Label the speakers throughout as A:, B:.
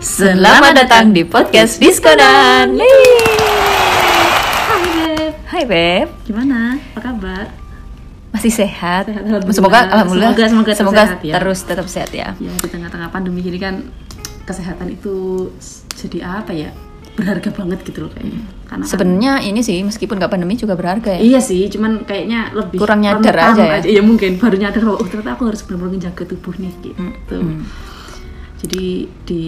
A: Selamat datang di podcast Diskonan. Hai Beb. Hai Beb.
B: Gimana? Apa kabar?
A: Masih sehat?
B: Sehat, alhamdulillah.
A: Semoga alhamdulillah.
B: Semoga- semoga tetap sehat ya.
A: terus tetap sehat ya.
B: Ya di tengah-tengah pandemi ini kan kesehatan itu s- jadi apa ya? Berharga banget gitu loh kayaknya. Karena kan-
A: Sebenarnya ini sih meskipun nggak pandemi juga berharga ya.
B: Iya sih, cuman kayaknya lebih
A: Kurang nyadar
B: rentan
A: aja ya.
B: Iya mungkin baru nyadar bahwa oh, ternyata aku harus benar-benar menjaga tubuh nih
A: Hmm.
B: gitu. Jadi di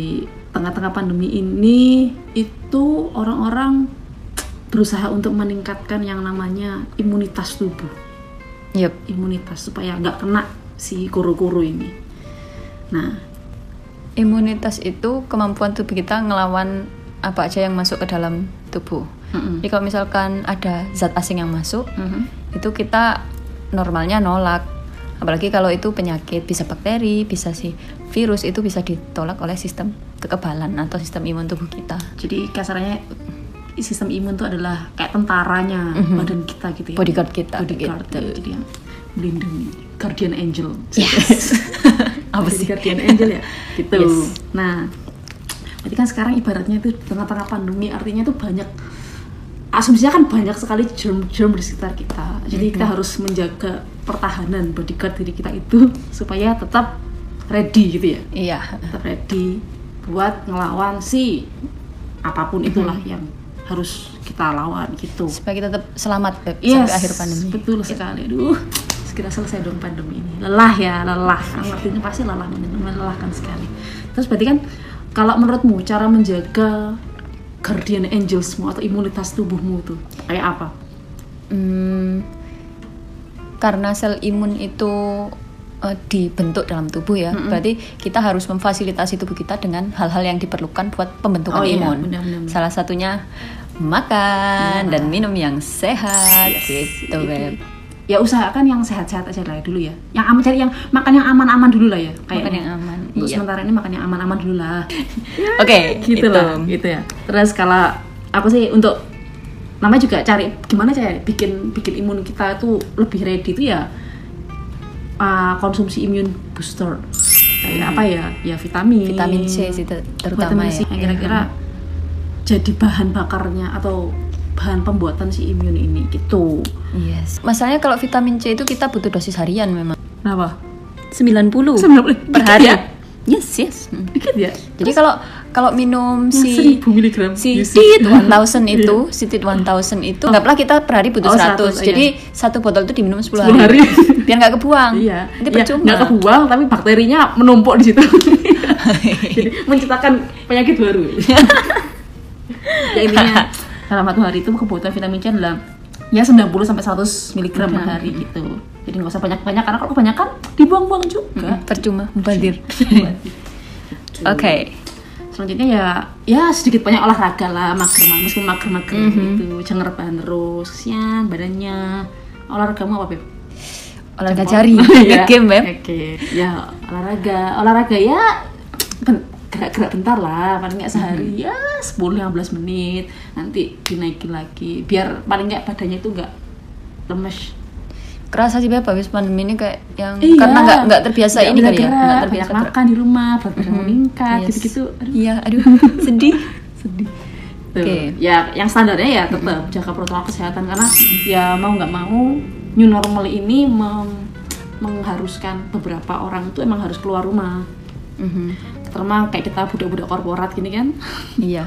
B: tengah-tengah pandemi ini itu orang-orang berusaha untuk meningkatkan yang namanya imunitas tubuh.
A: Yep.
B: imunitas supaya nggak kena si kuru-kuru ini. Nah,
A: Imunitas itu kemampuan tubuh kita ngelawan apa aja yang masuk ke dalam tubuh.
B: mm-mm.
A: Jadi kalau misalkan ada zat asing yang masuk,
B: Mhm.
A: itu kita normalnya nolak apalagi kalau itu penyakit bisa bakteri bisa sih virus itu bisa ditolak oleh sistem kekebalan atau sistem imun tubuh kita
B: jadi kasarnya sistem imun itu adalah kayak tentaranya
A: Mhm.
B: badan kita gitu ya.
A: bodyguard kita
B: Bodyguard,
A: gitu.
B: ya, jadi yang melindungi guardian angel.
A: yes apa
B: Jadi
A: sih
B: guardian angel ya? Gitu.
A: Yes.
B: Nah, berarti kan sekarang ibaratnya itu di tengah-tengah pandemi artinya itu banyak asumsinya kan banyak sekali germ-germ di sekitar kita. Jadi kita harus menjaga pertahanan bodyguard diri kita itu supaya tetap ready gitu ya.
A: iya
B: tetap ready buat ngelawan si apapun itulah yang harus kita lawan gitu.
A: supaya kita tetap selamat Beb,
B: Yes,
A: sampai akhir pandemi Iya.
B: Betul sekali. Aduh, segera selesai dong pandemi ini. Lelah ya, lelah. Artinya pasti lelah, men- melelahkan sekali. Terus berarti kan kalau menurutmu cara menjaga guardian angelsmu atau imunitas tubuhmu tuh kayak apa?
A: Hmm, karena sel imun itu eh, dibentuk dalam tubuh ya berarti kita harus memfasilitasi tubuh kita dengan hal-hal yang diperlukan buat pembentukan
B: Oh iya,
A: imun
B: benar, benar, Iya. benar.
A: salah satunya makan dan minum yang sehat gitu
B: Itu.
A: Beb.
B: Iya, Ya usahakan yang sehat-sehat aja lah ya dulu ya. Yang aman cari yang makan yang aman-aman dulu lah ya. Kayaknya.
A: yang aman,
B: Untuk
A: iya.
B: sementara ini makan yang aman-aman dulu lah.
A: oke
B: gitu
A: itu.
B: lah gitu ya terus kalau apa sih untuk namanya juga cari gimana cara bikin bikin imun kita itu lebih ready itu ya uh, konsumsi immune booster kayak apa ya ya vitamin
A: Hmm. Vitamin C sih ter- terutama
B: vitamin C
A: ya.
B: yang kira-kira jadi bahan bakarnya atau bahan pembuatan si imun ini gitu
A: yes masalahnya kalau vitamin C itu kita butuh dosis harian memang
B: kenapa
A: 90
B: 90.
A: per
B: Dikit
A: hari
B: ya?
A: yes yes Mm.
B: dikit ya
A: jadi kalau kalau minum
B: 1000
A: si
B: miligram Iya
A: si
B: Yusi.
A: tit 1000 itu si tit 1000 itu anggaplah kita per hari butuh
B: Iya. Oh, 100,
A: 100,
B: iya.
A: jadi satu botol itu diminum 10
B: 10
A: hari,
B: hari.
A: biar nggak kebuang
B: Iya,
A: nanti
B: Iya,
A: percuma
B: nggak kebuang tapi bakterinya menumpuk di situ. Jadi menciptakan penyakit baru. ya intinya dalam satu hari itu kebutuhan vitamin C adalah ya 90 sampai 100 mg per hari gitu. Jadi nggak usah banyak-banyak karena kalau kebanyakan dibuang-buang juga.
A: Mm, percuma mubadir oke
B: Selanjutnya ya ya sedikit banyak olahraga lah, mager ma- meskipun mager-mager gitu. Jangan rebahan terus, kesian badannya. Olahraga mau apa, Beb?
A: olahraga jari
B: Iya.
A: game beb
B: Oke. Ya, olahraga. Olahraga ya ben- gerak-gerak bentar lah, paling nggak
A: Mm-hmm.
B: sehari ya 10-15 menit. Nanti dinaikin lagi biar paling nggak badannya itu nggak lemes.
A: kerasa sih beb habis pandemi ini kayak yang
B: Iya.
A: Mm. karena nggak nggak terbiasa
B: Nggak
A: ini kali ya
B: bergerak,
A: nggak
B: banyak
A: terbiasa gerak.
B: makan di rumah, berat badan meningkat,
A: Yes.
B: gitu-gitu. Aduh,
A: iya aduh sedih
B: sedih. Tuh.
A: Oke. Mm-hmm.
B: Ya, yang standarnya ya tetap jaga protokol kesehatan karena ya mau nggak mau new normal ini mem- mengharuskan beberapa orang itu emang harus keluar rumah.
A: Mhm.
B: terutama kayak kita budak-budak korporat gini kan
A: iya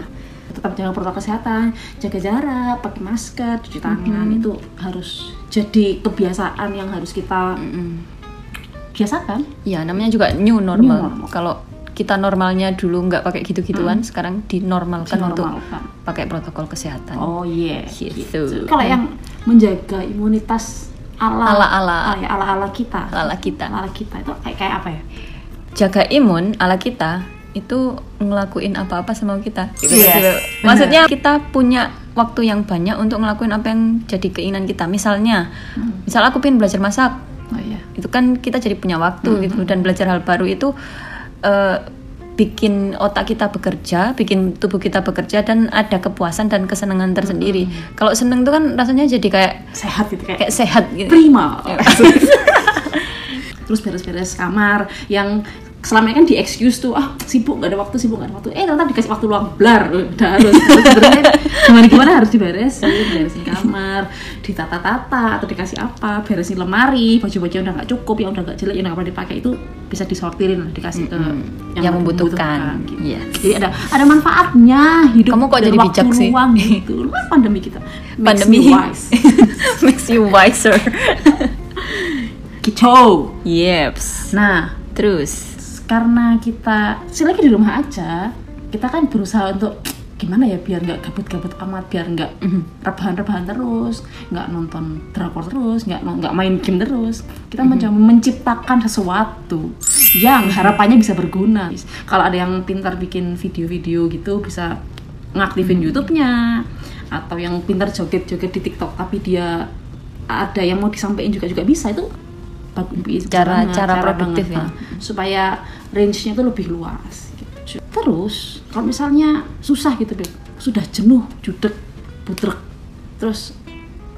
B: tetap jaga protokol kesehatan jaga jarak pakai masker cuci tangan itu harus jadi kebiasaan yang harus kita
A: Mm.
B: biasakan
A: Iya, namanya juga new normal.
B: New normal. Hmm.
A: Kalau kita normalnya dulu nggak pakai gitu-gituan, sekarang dinormalkan untuk
B: Dinormalkan.
A: pakai protokol kesehatan.
B: oh iya
A: Gitu.
B: kalau yang menjaga imunitas ala
A: Ala-ala.
B: Ah, ya, ala-ala kita
A: Ala-ala kita.
B: ala kita itu kayak kayak apa ya
A: Jaga imun ala kita itu ngelakuin apa-apa sama kita. Gitu
B: Yes,
A: sih, Beb.
B: Iya. benar.
A: Maksudnya kita punya waktu yang banyak untuk ngelakuin apa yang jadi keinginan kita. Misalnya,
B: Hmm.
A: misal aku pengen belajar masak,
B: oh iya
A: itu kan kita jadi punya waktu
B: Mm-hmm.
A: gitu dan belajar hal baru itu eh, bikin otak kita bekerja, bikin tubuh kita bekerja dan ada kepuasan dan kesenangan tersendiri.
B: Mm-hmm.
A: Kalau seneng itu kan rasanya jadi kayak
B: sehat gitu kayak Iya.
A: kayak sehat gitu.
B: prima terus beres-beres kamar yang selama ini kan di excuse tuh ah sibuk gak ada waktu sibuk gak ada waktu eh ternyata dikasih waktu luang blar udah harus harus sebenarnya gimana gimana harus diberesin beresin kamar ditata-tata atau dikasih apa beresin lemari baju-baju yang udah nggak cukup yang udah nggak jelek yang nggak pernah dipakai itu bisa disortirin lah dikasih ke
A: Mm-mm. Yang membutuhkan.
B: gitu.
A: Yes.
B: jadi ada ada manfaatnya hidup
A: Kamu kok
B: dan
A: jadi
B: waktu
A: bijak sih?
B: luang gitu Lumayan pandemi kita Makes
A: pandemi
B: me wise
A: makes you wiser
B: kicau
A: yeps
B: nah
A: terus
B: karena kita sih lagi di rumah aja kita kan berusaha untuk gimana ya biar nggak gabut-gabut amat biar nggak mm-hmm, rebahan-rebahan terus nggak nonton drakor terus nggak non- nggak main game terus kita
A: Mm-hmm.
B: mencoba menciptakan sesuatu yang harapannya bisa berguna kalau ada yang pintar bikin video-video gitu bisa ngaktifin
A: Mm-hmm.
B: YouTube-nya atau yang pintar joget-joget di TikTok tapi dia ada yang mau disampaikan juga juga bisa itu bagus
A: Cara-
B: banget,
A: cara produktif
B: banget,
A: ya.
B: Pak supaya range-nya tuh lebih luas gitu. terus kalau misalnya susah gitu Beb, sudah jenuh judek butrek terus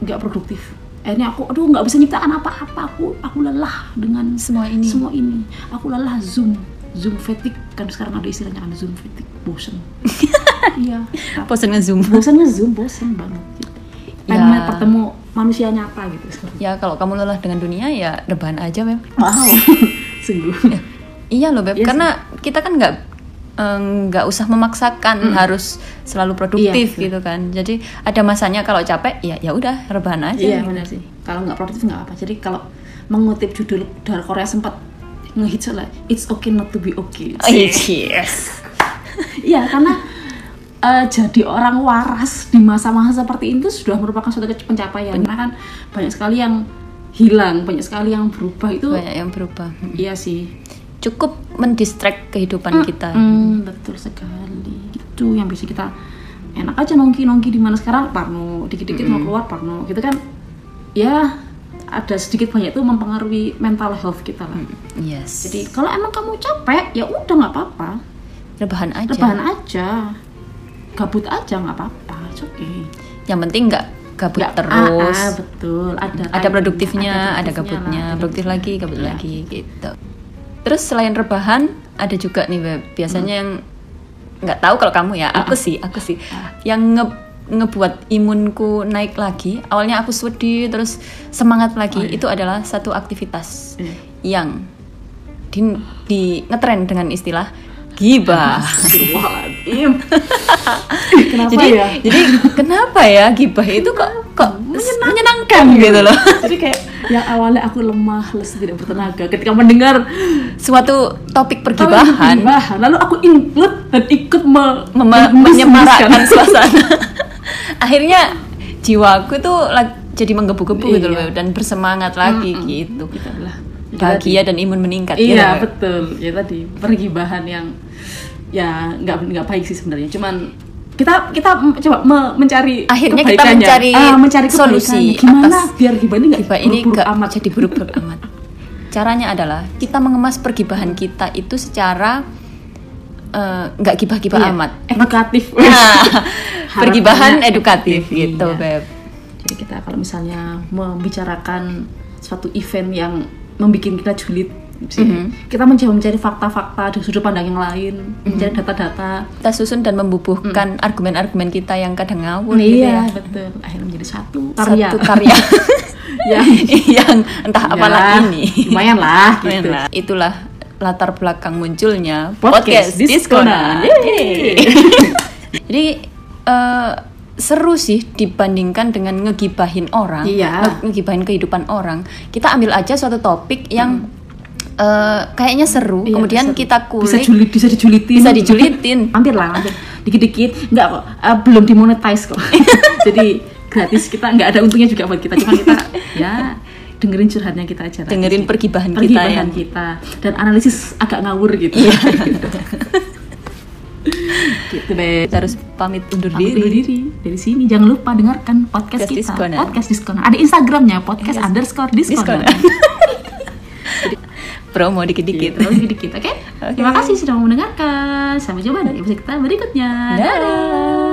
B: nggak produktif akhirnya aku aduh nggak bisa nyiptakan apa-apa aku aku lelah dengan
A: Semua ini.
B: semua ini aku lelah zoom zoom fatigue kan sekarang ada istilahnya kan zoom fatigue bosen iya
A: bosan ngezoom
B: bosen nge-zoom bosen banget gitu. pengen
A: Ya.
B: bertemu manusia nyata gitu
A: ya kalau kamu lelah dengan dunia ya rebahan aja Beb
B: wow sungguh
A: iya loh Beb
B: Iya sih.
A: karena kita kan nggak eh, nggak usah memaksakan harus selalu produktif
B: Iya,
A: gitu kan jadi ada masanya kalau capek ya ya udah rebahan aja
B: Iya benar sih. Kalau nggak produktif nggak apa. Jadi kalau mengutip judul dari Korea sempat ngehits lah, it's okay not to be okay.
A: Oh, yes.
B: Iya karena eh, jadi orang waras di masa-masa seperti itu sudah merupakan suatu ke- pencapaian. Karena kan banyak sekali yang hilang, banyak sekali yang berubah itu.
A: banyak yang berubah
B: Iya sih.
A: cukup mendistract kehidupan kita
B: Hmm, betul sekali. Itu yang bisa kita enak aja nongki nongki di mana sekarang Parno dikit-dikit mau keluar Parno gitu kan ya ada sedikit banyak itu mempengaruhi mental health kita lah.
A: yes
B: Jadi kalau emang kamu capek ya udah nggak apa-apa,
A: rebahan aja
B: rebahan aja, gabut aja nggak apa-apa, it's okay.
A: yang penting nggak gabut
B: Nggak-
A: terus
B: ah, ah, betul. Ada
A: ada produktifnya, ada,
B: gabutnya
A: gabutnya,
B: lah, ada
A: produktif lagi,
B: gabutnya.
A: gabut
B: Iya.
A: lagi gitu. Terus selain rebahan, ada juga nih Beb, biasanya
B: Hmm.
A: yang nggak tahu kalau kamu ya,
B: Ah.
A: aku sih, aku sih yang nge ngebuat imunku naik lagi. Awalnya aku sedih, terus semangat
B: Oh,
A: lagi. Itu adalah satu aktivitas
B: Iya.
A: yang di, di ngetren dengan istilah gibah.
B: Astagfirullahaladzim. Kenapa
A: jadi,
B: ya?
A: jadi kenapa ya gibah itu kok kok menyenangkan gitu loh.
B: Jadi kayak yang awalnya aku lemah, lesu, tidak bertenaga. Ketika mendengar
A: suatu topik
B: tahu
A: pergibahan
B: bahan, lalu aku include dan ikut me- mengemas-
A: mema- menyemarakkan
B: ngemaskan.
A: suasana. Akhirnya jiwaku tuh lag- jadi menggebu-gebu gitu loh
B: Iya.
A: dan bersemangat lagi gitu.
B: Gitu lah. Itu
A: Bahagia dan imun meningkat
B: iya
A: ya. Beb?
B: betul ya tadi pergibahan yang ya nggak nggak baik sih sebenarnya cuman kita kita m- coba me- mencari
A: Akhirnya kita
B: kebaikannya.
A: mencari
B: Ah, mencari kebaikannya.
A: solusi
B: gimana
A: atas
B: biar gibah ini nggak
A: Gibah ini
B: buruk-buruk
A: gak
B: amat
A: jadi buruk-buruk amat. Caranya adalah kita mengemas pergibahan kita itu secara eh, nggak gibah-gibah
B: Iya,
A: amat.
B: edukatif
A: Nah, pergibahan
B: Harapannya
A: edukatif
B: edukatif,
A: gitu,
B: iya.
A: Beb.
B: jadi kita kalau misalnya membicarakan suatu event yang membuat kita julid sih,
A: Mm-hmm.
B: kita mencoba mencari fakta-fakta dari sudut pandang yang lain mencari
A: Mm-hmm.
B: data-data
A: Kita susun dan membubuhkan argumen-argumen kita yang kadang ngawur gitu
B: Mm. iya
A: ya.
B: betul akhirnya menjadi satu karya
A: satu karya
B: yang
A: yang entah
B: Ya,
A: apalah ini
B: lumayan lah gitu
A: Lumayan lah. itulah latar belakang munculnya
B: Podcast
A: podcast,
B: Diskonan.
A: diskonan
B: Yeay.
A: jadi eh, seru sih dibandingkan dengan ngegibahin orang
B: Iya.
A: nge- ngegibahin kehidupan orang kita ambil aja suatu topik yang eh, kayaknya seru
B: Iya,
A: kemudian
B: bisa-
A: kita
B: bisa
A: kulik
B: julid bisa dijulitin
A: Bisa dijulitin.
B: hampir lah hampir dikit-dikit nggak kok eh, belum dimonetize kok jadi gratis kita nggak ada untungnya juga buat kita cuma kita ya dengerin curhatnya kita aja
A: dengerin pergibahan, kita
B: pergibahan
A: yang
B: kita, dan analisis agak ngawur gitu
A: Iya.
B: gitu deh
A: kita harus pamit undur
B: Pamit undur
A: diri
B: diri dari sini jangan lupa dengarkan podcast,
A: Podcast
B: kita
A: Diskonan. Iya.
B: podcast diskonan ada instagramnya podcast underscore diskonan,
A: Diskonan. promo dikit-dikit
B: Gitu, dikit-dikit oke
A: Oke.
B: terima kasih sudah mau mendengarkan sampai jumpa dari episode kita berikutnya
A: Dadah.